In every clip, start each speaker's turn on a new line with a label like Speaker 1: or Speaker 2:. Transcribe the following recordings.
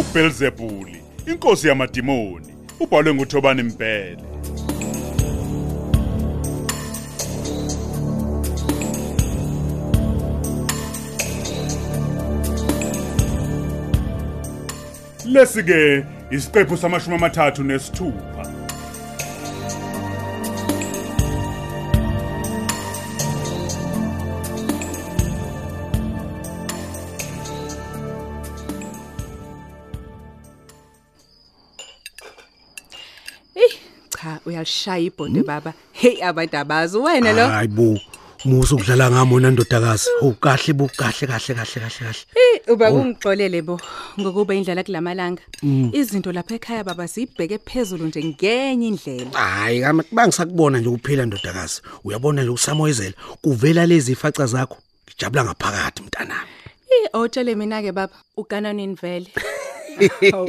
Speaker 1: uBelzebuli, inkosi yamadimoni, ubhalwe nguThobani Mpele. Lesi ke isiqephu samashumi amathathu nesithupha.
Speaker 2: Hey, cha uyalishaya ibhodi baba. Hey abantu abazi wena lo.
Speaker 3: hayi bo musa ukudlala ngami wena ndodakazi owu kahle bo kahle kahle kahle kahle kahle
Speaker 2: Eh uba ungixolele bo ngokuba indlela kulamalanga. Izinto lapha ekhaya baba sibheke phezulu nje ngenye indlela.
Speaker 3: hayi kama- bangisakubona nje ukuphila ndodakazi uyabona lo usamoyezela kuvela lezi ifaca zakho ngijabula ngaphakathi mntanami
Speaker 2: Eh otshele mina ke baba ukananini vele. Hawu,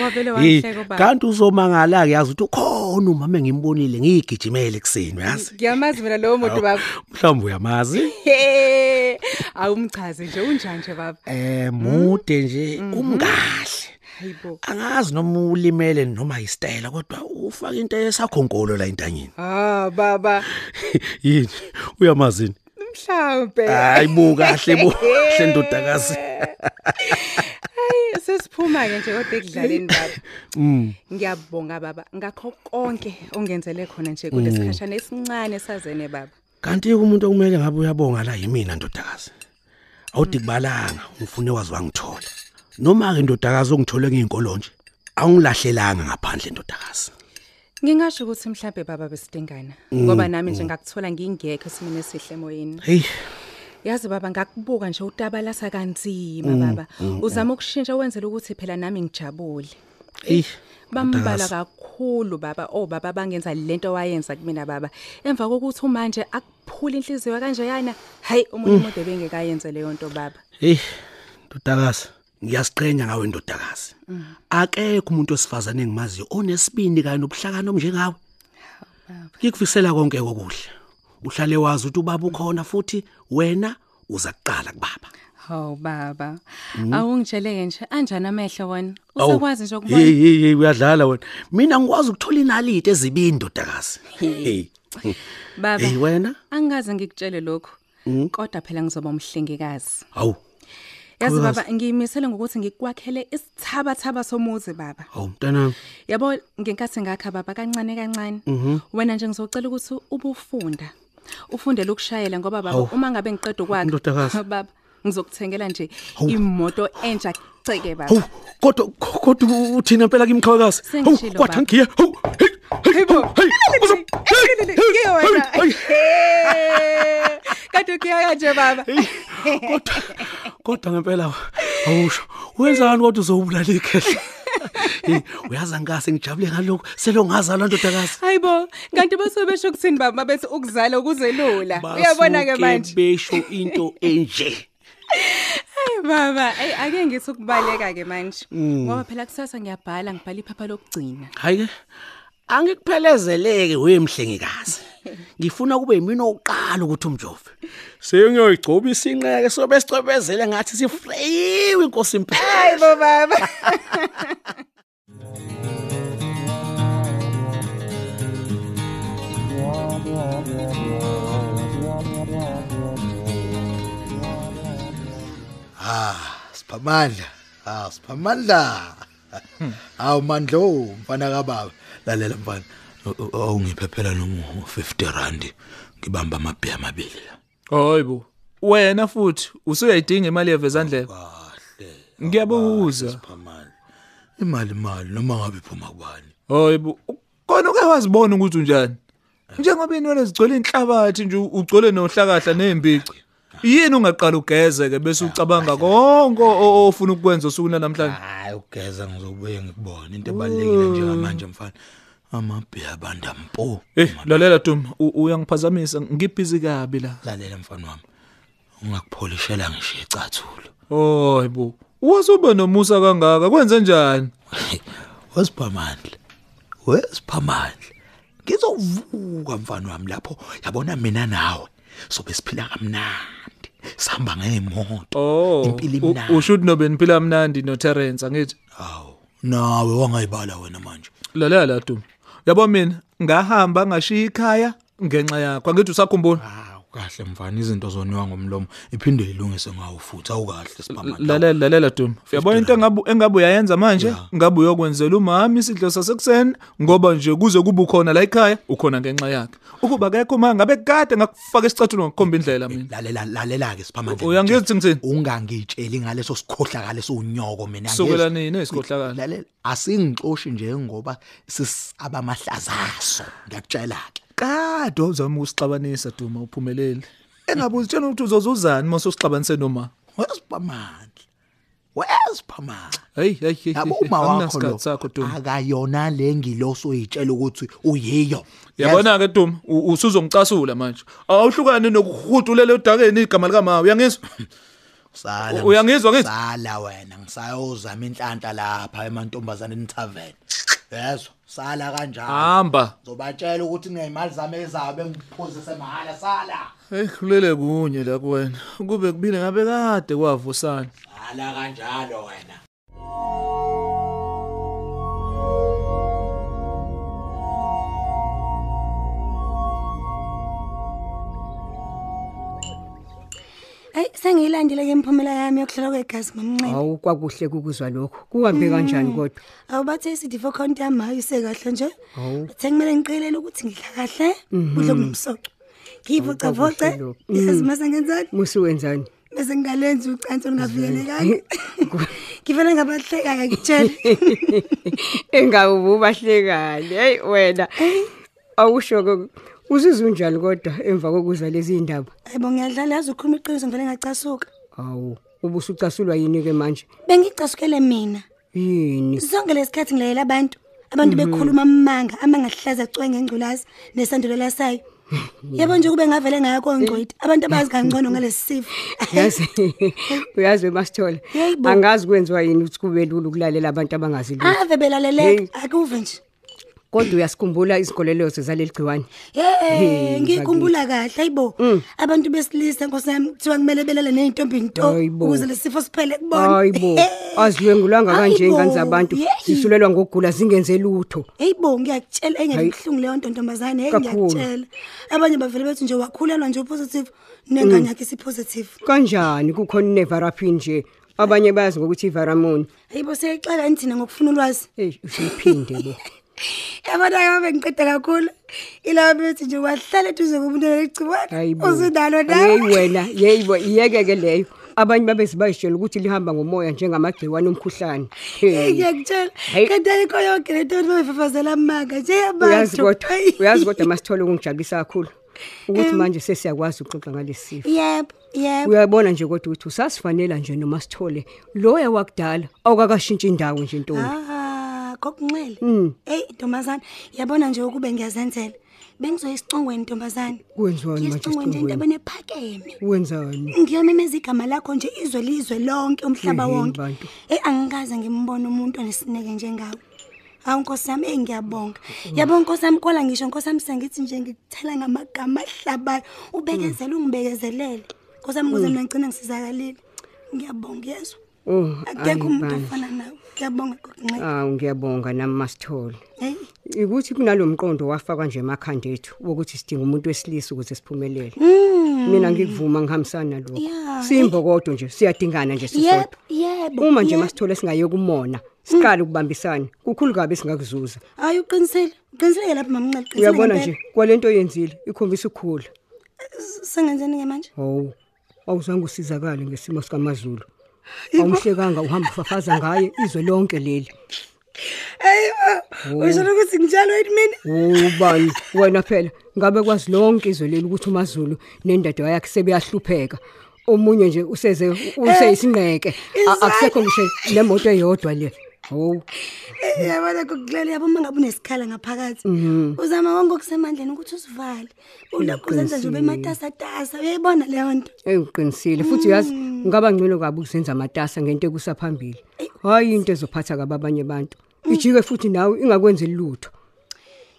Speaker 2: Wavele
Speaker 3: Hey,
Speaker 2: wangihleka baba.
Speaker 3: kanti uzomangala-ke yazi ukuthi ukhona umama engimbonile ngiyigijimele ekuseni uyazi
Speaker 2: Ngiyamazi mina lowo muntu baba.
Speaker 3: mhlawumbe uyamazi
Speaker 2: Hey, awumchaze nje unjani nje baba.
Speaker 3: um mude nje umkahle
Speaker 2: Hayibo.
Speaker 3: angazi noma ulimele noma yisitayela kodwa ufake into esakhonkolo la entanyeni
Speaker 2: Ah baba,
Speaker 3: yini uyamazini
Speaker 2: mhlambe.
Speaker 3: hayi bo kahle bo kahle ndodakazi
Speaker 2: Hayi sesiphuma ke nje kodwa ekudlaleni baba. Mm. Ngiyabonga baba ngakho konke ongenzele khona nje kulesikhashana esincane sazene baba.
Speaker 3: kanti umuntu okumele ngabe uyabonga la yimina ndodakazi awudikubalanga ngifune wazi wangithola noma ke ndodakazi ongithole ngeenkolo nje awungilahlelanga ngaphandle ndodakazi
Speaker 2: Ngingasho ukuthi mhlambe baba besidengana ngoba nami nje ngakuthola ngingekho esimene sihle emoyeni.
Speaker 3: heyi
Speaker 2: Yazi baba ngakubuka nje utabalasa kanzima baba. Uzama ukushintsha wenzele ukuthi phela nami ngijabule.
Speaker 3: eyi
Speaker 2: bambala
Speaker 3: Ndodakazi.
Speaker 2: kakhulu baba obaba bangenza lento wayenza kumina baba emva kokuthi manje akuphula inhliziyo kanje yana hayi umuntu umuntu ebengekayenze leyo nto baba
Speaker 3: heyi ndodakazi ngiyasiqenya ngawe ndodakazi akekho umuntu wesifazane engimaziyo onesibindi kanye nobuhlakani omnjengawe ngikufisela konke kokuhle uhlale wazi ukuthi ubaba ukhona futhi wena uza kuqala kubaba
Speaker 2: hawu baba awungitsheleke nje anjani amehlo wona
Speaker 3: Hmm? Awu,
Speaker 2: usakwazi nje ukubona
Speaker 3: hey hey uyadlala wena mina ngikwazi ukuthola inalite ezibini ndodakazi hey
Speaker 2: baba
Speaker 3: hey Hmm? wena
Speaker 2: angikaze ngikutshele lokhu kodwa phela ngizoba umhlengikazi
Speaker 3: awu
Speaker 2: yazi
Speaker 3: Qhubeka.
Speaker 2: baba ngiyimisele ngokuthi ngikwakhele isithabathaba somuzi baba
Speaker 3: awu mntanami
Speaker 2: yabo ngenkathi ngakha baba kancane kancane
Speaker 3: Mhm.
Speaker 2: wena nje ngizocela ukuthi ubufunda ufundele ukushayela ngoba baba
Speaker 3: Hawu.
Speaker 2: uma ngabe ngiqeda
Speaker 3: Ndodakazi.
Speaker 2: ukwakha baba ngizokuthengela nje imoto entsha ceke
Speaker 3: awu
Speaker 2: baba
Speaker 3: kodwa kodwa uthina impela kimqhawekazi awu
Speaker 2: Sengishilo,
Speaker 3: kwathi
Speaker 2: baba.
Speaker 3: ngiye awu hey hey
Speaker 2: Yebo.
Speaker 3: hey uza
Speaker 2: Elele, ke wena. Hey. Kanti kuyaya nje baba
Speaker 3: kodwa kodwa ngempela awusho wenzani kodwa uzobulala ikhehle hey uyazi angase ngijabule ngalokho selo ngazalwa ndodakazi
Speaker 2: hayibo kanti basuke besho kuthini baba mabethi ukuzala ukuze lula uyabona ke
Speaker 3: Basuke
Speaker 2: manje
Speaker 3: besho into enje
Speaker 2: Ayi, baba eyi ake ngithi ukubaleka ke manje ngoba phela kusasa ngiyabhala ngibhala iphapha lokugcina
Speaker 3: hayi ke angikuphelezeleke wemhlengikazi ngifuna kube yimina oqala ukuthi umjove sengiyoyigcobisa inqeke sobe sicwebezele ngathi sifreyiwe inkosi impela
Speaker 2: hayibo baba
Speaker 4: Ah, siphamandla. Ah, siphamandla. Awu mandlo,
Speaker 5: oh,
Speaker 4: mfana kababa. Lalela mfana.
Speaker 5: awungiphephela noma 50 rand ngibamba amabhe amabili la
Speaker 6: Hayibo. Wena futhi usuyayidinga imali yevezandlebe. Ngiyabuza.
Speaker 5: imali mali noma ngabe iphuma kubani
Speaker 6: Hayibo. Kona uke wazibona ukuthi unjani?
Speaker 5: Eh.
Speaker 6: Njengoba inwele zigcwele inhlabathi nje ugcwele nohlakahla nembici. Yini ungaqala ugezeke bese ucabanga konke o- o- ofuna ukukwenza usukuna namhlanje?
Speaker 5: hayi ugeza ngizobuye ngikubona into ebalulekile njengamanje mfana amabhe abanda mpo
Speaker 6: Eh, lalela Duma, u- uyangiphazamisa. Ngibhizi kabi la.
Speaker 5: lalela mfana wami ungakupholishela ngisho icathulo
Speaker 6: Hayibo. Wasube nomusa kangaka kwenze njani?
Speaker 5: wesiphamandla wesiphamandla ngizovuka mfana wami lapho yabona mina nawe sobe siphila kamnandi sihamba ngeemoto
Speaker 6: Oh.
Speaker 5: Impilo imnandi.
Speaker 6: u- Ushuthi nobe niphila mnandi no Terence angithi.
Speaker 5: hawu nawe wangayibala wena manje
Speaker 6: lalela la Duma yabo mina ngahamba ngashiya ikhaya ngenxa yakho angithi usakhumbula
Speaker 5: hawu kahle mfana izinto zoniwa ngomlomo iphinde ilungise ngawo futhi awukahle sibhamala
Speaker 6: lalela lalela Duma uyabona into engabu engabu uyayenza manje ngabu uyokwenzela umama isidlo sasekuseni ngoba nje kuze kube khona la ekhaya ukhona ngenxa yakhe ukuba kekho uma ngabe kade ngakufaka isicathulo ngokukhomba indlela mina
Speaker 5: lalela lalela ke
Speaker 6: Oh,
Speaker 5: siphamandla
Speaker 6: uyangithi ngithini
Speaker 5: ungangitsheli ngaleso sikhohlakale sonyoko mina
Speaker 6: Kusukela
Speaker 5: angezi-
Speaker 6: nini isikhohlakalo?
Speaker 5: lalela asingixoshi nje ngoba sisaba mahlazaso ngiyakutshela ke
Speaker 6: kade wawuzama ukusixabanisa Duma uphumelele engabe uzitshela ukuthi uzozuzani mase usixabanise noma
Speaker 5: wesiphamandla wesiphamandla
Speaker 6: hey hey hey
Speaker 5: yabo
Speaker 6: hey,
Speaker 5: uma wakho
Speaker 6: akunasikhathi
Speaker 5: lo
Speaker 6: sakho Duma
Speaker 5: akayona le ngiloso uyitshela ukuthi uyiyo
Speaker 6: yabona ke Duma u- usuzongicasula manje awuhlukane nokuhudulela odakeni igama lika mawa uyangizwa
Speaker 5: sala
Speaker 6: U- uyangizwa ngithi?
Speaker 5: sala wena ngisayozama inhlanhla lapha emantombazaneni tavern yezwa sala
Speaker 6: Ah.
Speaker 5: kanjalo
Speaker 6: hamba
Speaker 5: ngizobatshela ukuthi ngeyimali zami ezayo bengiphuzise mahala sala
Speaker 6: hey khulele kunye la kuwena kube kubile ngabe kade kwavusana
Speaker 5: sala kanjalo wena
Speaker 7: Ayi sengiyilandile ke imphumela yami yokuhlolwa kwegazi Mm. mamncane.
Speaker 8: awu kwakuhle kukuzwa lokhu kuhambe kanjani kodwa
Speaker 7: Awubathe isidifo count yami hayi sekahle nje. Bathe kumele ngiqelele ukuthi ngidla kahle, kudle kunomsoco. Ngiyivocavoce,
Speaker 8: Awu, Mhm. kwakuhle Mm. lokhu.
Speaker 7: yazi mase ngenzani?
Speaker 8: musuwenzani
Speaker 7: Bese ngingalenzi ucansi olungavikelekanga. Ngivele ngabahleka ngikutshele.
Speaker 8: engawubahlekani hey wena awusho uzizunjani kodwa emva kokuzwa lezi ndaba
Speaker 7: Hayibo ngiyadlala yazi ukhuluma iqiniso ngivele ngacasuka.
Speaker 8: awu ubusucasulwa yini ke manje
Speaker 7: Bengicasukele mina.
Speaker 8: yini
Speaker 7: Sonke lesikhathi ngilalela abantu.
Speaker 8: Mm.
Speaker 7: Abantu bekhuluma amanga, amanga ahlaza cwenge ngculazi nesandulela sayo. Yebo nje kube ngavele ngayo kongcweti. Abantu abazi kangcono ngalesifo.
Speaker 8: yazi uyazi masithola
Speaker 7: Yebo.
Speaker 8: angazi kwenziwa yini ukuthi kube lula ukulalela abantu abangazi lutho
Speaker 7: Ave
Speaker 8: Hey.
Speaker 7: belaleleka akuve nje.
Speaker 8: kodwa uyasikhumbula izigolelozo zaleli gciwane
Speaker 7: Hey,
Speaker 8: Hey, Mm.
Speaker 7: ngikhumbula kahle ayibo. Abantu besilisa nkosami kuthiwa kumele belale neyintombi into
Speaker 8: Hayibo.
Speaker 7: ukuze lesifo siphele kubona.
Speaker 8: hayibo azilwengulanga kanje
Speaker 7: Hayibo,
Speaker 8: ingane zabantu
Speaker 7: yeyi.
Speaker 8: zisulelwa ngokugula zingenze lutho
Speaker 7: Heyibo ngiyakutshela
Speaker 8: Hayi.
Speaker 7: engayihlungu leyo ntombazane hey
Speaker 8: Kakhulu.
Speaker 7: ngiyakutshela. Abanye bavele bethu nje wakhulelwa nje upositive
Speaker 8: Mm.
Speaker 7: nengane yakhe isipositive.
Speaker 8: kanjani kukhona inevarapin nje abanye bayazi ngokuthi ivaramoni
Speaker 7: Hayibo siyayixela ni thina ngokufuna ulwazi.
Speaker 8: eyi usuyiphinde bo
Speaker 7: Yabona ke babengiqeda kakhulu. Ilawa bethi nje wahlala eduze komuntu leligciwane.
Speaker 8: Hayibo.
Speaker 7: Uzudalo
Speaker 8: Yeyi
Speaker 7: nawe.
Speaker 8: wena yeyi bo iyeke ke leyo abanye babezi bayishela ukuthi lihamba ngomoya njengamagciwane omkhuhlane
Speaker 7: Eh,
Speaker 8: Hey,
Speaker 7: ngiyakutshela
Speaker 8: Hayi.
Speaker 7: kanti ayikho yonke le nto babefafazela amanga nje
Speaker 8: uyazi kodwa
Speaker 7: abantu.
Speaker 8: uyazi kodwa masithole ukungijabulisa kakhulu ukuthi
Speaker 7: Em.
Speaker 8: manje sesiyakwazi ukuxoxa ngalesi sifo
Speaker 7: yebo yebo
Speaker 8: uyabona nje kodwa ukuthi usasifanela nje noma sithole loya wakudala awukakashintshi indawo nje ntombi
Speaker 7: Ah, kokunxele
Speaker 8: Hmm.
Speaker 7: eyi ntombazane yabona nje ukube ngiyazenzela bengizoyisicongweni ntombazane
Speaker 8: kwenziwani manje
Speaker 7: ngisicongweni nje into
Speaker 8: esicingweni
Speaker 7: benephakeme
Speaker 8: wenzani
Speaker 7: ngiyomemeza igama lakho nje izwe lizwe lonke umhlaba
Speaker 8: Ehhe,
Speaker 7: wonke
Speaker 8: bantu.
Speaker 7: eyi angikaze ngimbone umuntu onesineke njengawe hawu nkosi yami eyi ngiyabonga
Speaker 8: Mm.
Speaker 7: yabo nkosi yami kola ngisho nkosi yami sengithi nje ngikuthela ngamagama ahlabayo ubekezele ungibekezelele nkosi yami
Speaker 8: Mm.
Speaker 7: kuze mina ngigcina ngisizakalile ngiyabonga yezwa
Speaker 8: Oh,
Speaker 7: akekho
Speaker 8: ayi
Speaker 7: umuntu
Speaker 8: bandla.
Speaker 7: ofana nawe ngiyabonga kokunxele
Speaker 8: awu ngiyabonga nami masithole
Speaker 7: heyi
Speaker 8: ukuthi kunalo mqondo wafakwa nje emakhanda ethu wokuthi sidinga umuntu wesilisa ukuze siphumelele
Speaker 7: Mm.
Speaker 8: mina ngikuvuma ngihambisana nalokho
Speaker 7: Yeah,
Speaker 8: simbokodo nje siyadingana nje
Speaker 7: yebo
Speaker 8: sisodwa
Speaker 7: yebo
Speaker 8: uma nje
Speaker 7: yebo.
Speaker 8: masithole singayokumona siqale
Speaker 7: Mm.
Speaker 8: ukubambisana kukhulu kabi singakuzuza
Speaker 7: hayi uqinisile uqinisile-ke lapho mamncele
Speaker 8: uyabona nje kwalento oyenzile ikhombisa ukukhula
Speaker 7: sengenzeni-ke manje
Speaker 8: hawu awuzange usizakale ngesimo sikamazulu awumhlekanga uhamba ufafaza ngaye izwe lonke leli
Speaker 7: hayi
Speaker 8: Oh.
Speaker 7: ushona ukuthi ngitshalo yini mina
Speaker 8: ubani wena phela ngabe kwazi lonke izwe leli ukuthi umazulu nendadewa yakhe sebeyahlupheka omunye nje useze useyisinqeke A- akusekho ngisho nemoto eyodwa le hawu
Speaker 7: Eh, yabona kokulela yabo uma ngabe unesikhala ngaphakathi
Speaker 8: Mhm.
Speaker 7: uzama konke okusemandleni ukuthi usivale ulokhu uzenza nje ube matasatasa uyayibona leyo nto
Speaker 8: eyi uqinisile futhi uyazi ngaba ngcono kabi ukuzenza amatasa ngento ekusaphambili hhayi into ezophatha kabi abanye abantu ijike futhi nawe ingakwenzi lutho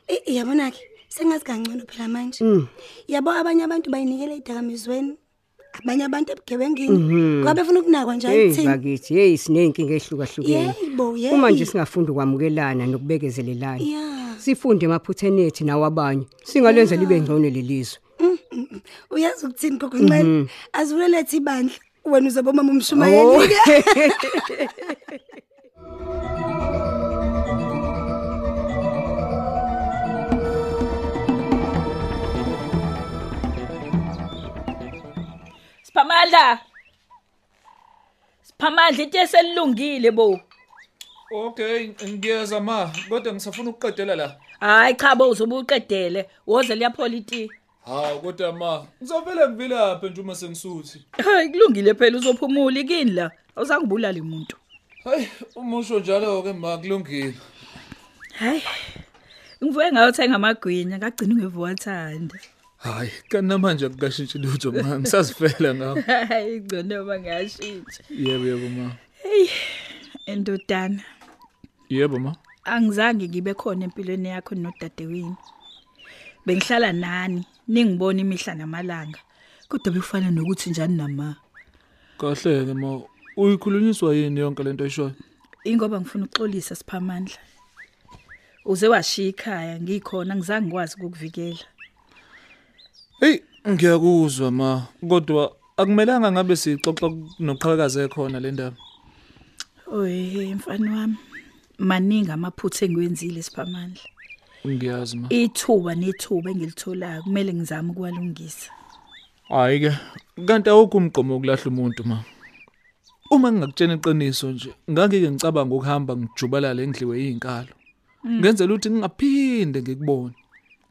Speaker 7: Eh,
Speaker 8: Mm.
Speaker 7: yabona-ke sengazi kangcono phela manje yabo abanye abantu bayinikele ey'dakamizweni abanye abantu ebugebengini ngoba befuna ukunakwa njalo
Speaker 8: Mhm. Hey
Speaker 7: kuthina
Speaker 8: bakithi hey sineyinkinga ehlukahlukene.
Speaker 7: Yebo,
Speaker 8: Uma nje
Speaker 7: yeyi.
Speaker 8: singafunda ukwamukelana nokubekezelelana.
Speaker 7: Ya.
Speaker 8: Sifunde emaphutheni ethu nawabanye. Singalenza libe ngcono lelizwe.
Speaker 7: uyazi ukuthini kokuncane
Speaker 8: Mhm.
Speaker 7: azibulelethe ibandla wena uzoba umama
Speaker 8: Oh.
Speaker 7: umshumayeli
Speaker 9: Siphamandla. Siphamandla into eselungile bo.
Speaker 6: Okay, ngiyeza ma, kodwa ngisafuna ukuqedela la.
Speaker 9: Hayi cha bo uzobuqedele. Woze liyapoliti.
Speaker 6: Hawu kodwa ma, ngizovela ngivilaphe nje uma sengisuthi.
Speaker 9: Hayi kulungile phela uzophumula ikini la. Awusangibulali umuntu.
Speaker 6: Hayi, umusho njalo ke ma kulungile.
Speaker 9: Hayi. Ngivuke ngayothenga amagwinya ngagcina ngevuwathanda.
Speaker 6: Hayi, kanti namanje akukashintshi lutho ma, ngisazifela ngawo.
Speaker 9: Hayi ngcono bangashintsha.
Speaker 6: Yebo yebo ma.
Speaker 9: Endodana,
Speaker 6: Yebo ma.
Speaker 9: angizange ngibe khona empilweni yakho nodadewini. Bengihlala nani, ningibona imihla namalanga. Kodwa bekufana nokuthi njani nama.
Speaker 6: Kahle ke ma. Uyikhulunyiswa yini yonke lento eshoyo?
Speaker 9: Ingoba ngifuna ukuxolisa siphamandla. Uze washiya ikhaya ngikhona ngizange ngikwazi ukukuvikela.
Speaker 6: Hey, ngiyakuzwa ma, kodwa akumelanga ngabe sixoxa noqhakazeke khona le ndaba.
Speaker 9: Oy, mfana wami. Maningi amaphutha engiwenzile siphamandla.
Speaker 6: Ngiyazi ma.
Speaker 9: Ithuba nethuba engilitholayo kumele ngizame ukwalungisa.
Speaker 6: Hayi ke, kanti awukho umgqomo ukulahla umuntu ma. Uma ngingakutshena iqiniso nje, ngangike ngicabanga ukuhamba ngijubalala endliwe yinkalo. Ngenzela ukuthi ngingaphinde ngikubone.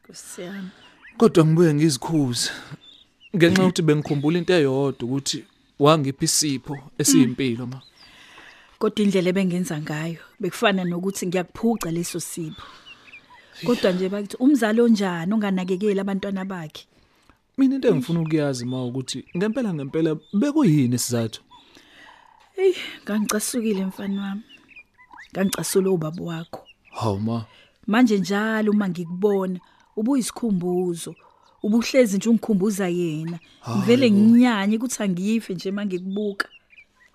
Speaker 9: Kusiyami.
Speaker 6: Kodwa ngibuye ngizikhuze. Ngenxa yokuthi bengikhumbula into eyodwa ukuthi wangiphi isipho esiyimpilo ma.
Speaker 9: Kodwa indlela ebengenza ngayo bekufana nokuthi ngiyakuphuca leso sipho. Kodwa nje bakuthi umzali onjani onganakekeli abantwana bakhe.
Speaker 6: Mina into engifuna ukuyazi ma ukuthi ngempela ngempela bekuyini isizathu?
Speaker 9: Ey, ngangicasukile mfana wami. Ngangicasula ubaba wakho.
Speaker 6: Hawu ma.
Speaker 9: Manje njalo uma ngikubona ubuyisikhumbuzo. Ubuhlezi nje ungikhumbuza yena. Ngivele nginyanye ukuthi angiyifi nje mangikubuka.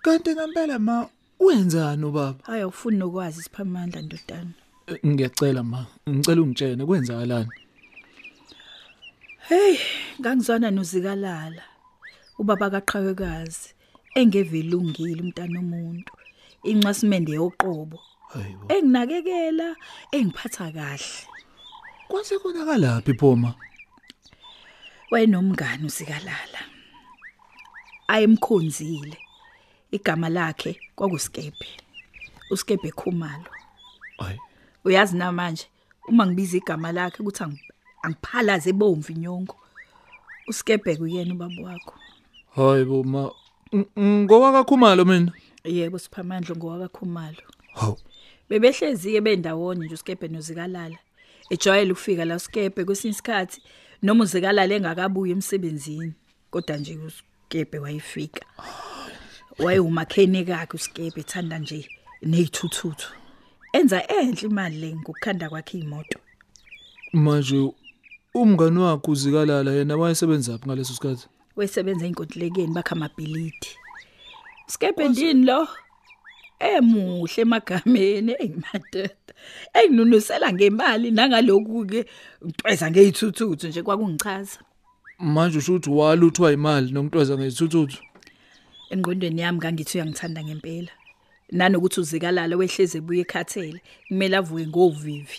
Speaker 6: Kanti ngempela ma wenzani ubaba?
Speaker 9: Hayi awufuni nokwazi siphamandla ndodana.
Speaker 6: Eh, Ngiyacela ma, ngicela ungitshene kwenzakalani?
Speaker 9: Hey, ngangizwana nozikalala. Ubaba kaqhakekazi engevelungile umntana omuntu. Inxasimende yoqobo.
Speaker 6: Hayibo.
Speaker 9: Enginakekela, engiphatha kahle.
Speaker 6: Kwase konakalaphi phoma?
Speaker 9: wayenomngane uzikalala ayemkhonzile igama lakhe kwakuSkebe uSkebe Khumalo
Speaker 6: Hayi.
Speaker 9: uyazi namanje uma ngibiza igama lakhe ukuthi angi- angiphalaze bomvi nyongo uSkebe kuyena ubaba wakho
Speaker 6: Hayibo ma. Ng- Ngoba kakhumalo mina.
Speaker 9: yebo siphamandla ngowakaKhumalo
Speaker 6: Hawu.
Speaker 9: bebehleziye bendawonye nje uSkebe nozikalala ejwayele ukufika la uSkebe kwesinye isikhathi noma uzikalala engakabuyi emsebenzini kodwa nje uSkebe wayefika wayewumakheni kakhe uSkebe ethanda nje nezithuthuthu enza enhle imali le ngokukhanda kwakhe imoto
Speaker 6: Manje umngane wakho uzikalala yena wayesebenza phi ngaleso sikhathi?
Speaker 9: wesebenza einkontilekeni bakha amabhilidi Skebe ndini lo emuhle emagameni engimadoda enginunusela ngemali nangaloku ke ntweza ngezithuthuthu nje kwakungichaza
Speaker 6: Manje usho ukuthi waluthwa imali nomntwaza ngezithuthu.
Speaker 9: engqondweni yami ngangithi uyangithanda ngempela nanokuthi uzikalala wehleze ebuye ekhathele kumele avuke ngovivi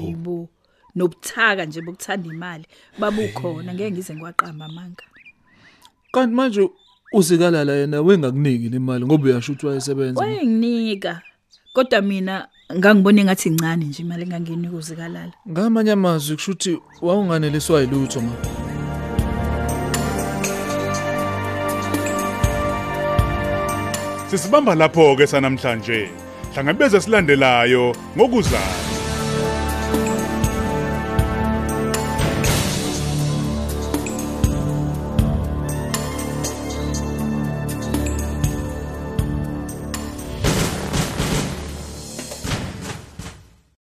Speaker 9: yibo nobuthaka nje bokuthanda imali babukhona ngeke ngize ngiwaqamba amanga
Speaker 6: Kanti manje uzikalala yena wengakuniki imali ngoba uyasho ukuthi wayesebenza.
Speaker 9: wayenginika kodwa mina ngangibona engathi incane nje imali enganginika uzikalala
Speaker 6: Ngamanye amazwi kusho ukuthi wawunganeliswa yilutho ma.
Speaker 1: Sisibamba lapho ke sanamhlanje. Hlangabeze silandelayo ngokuzayo.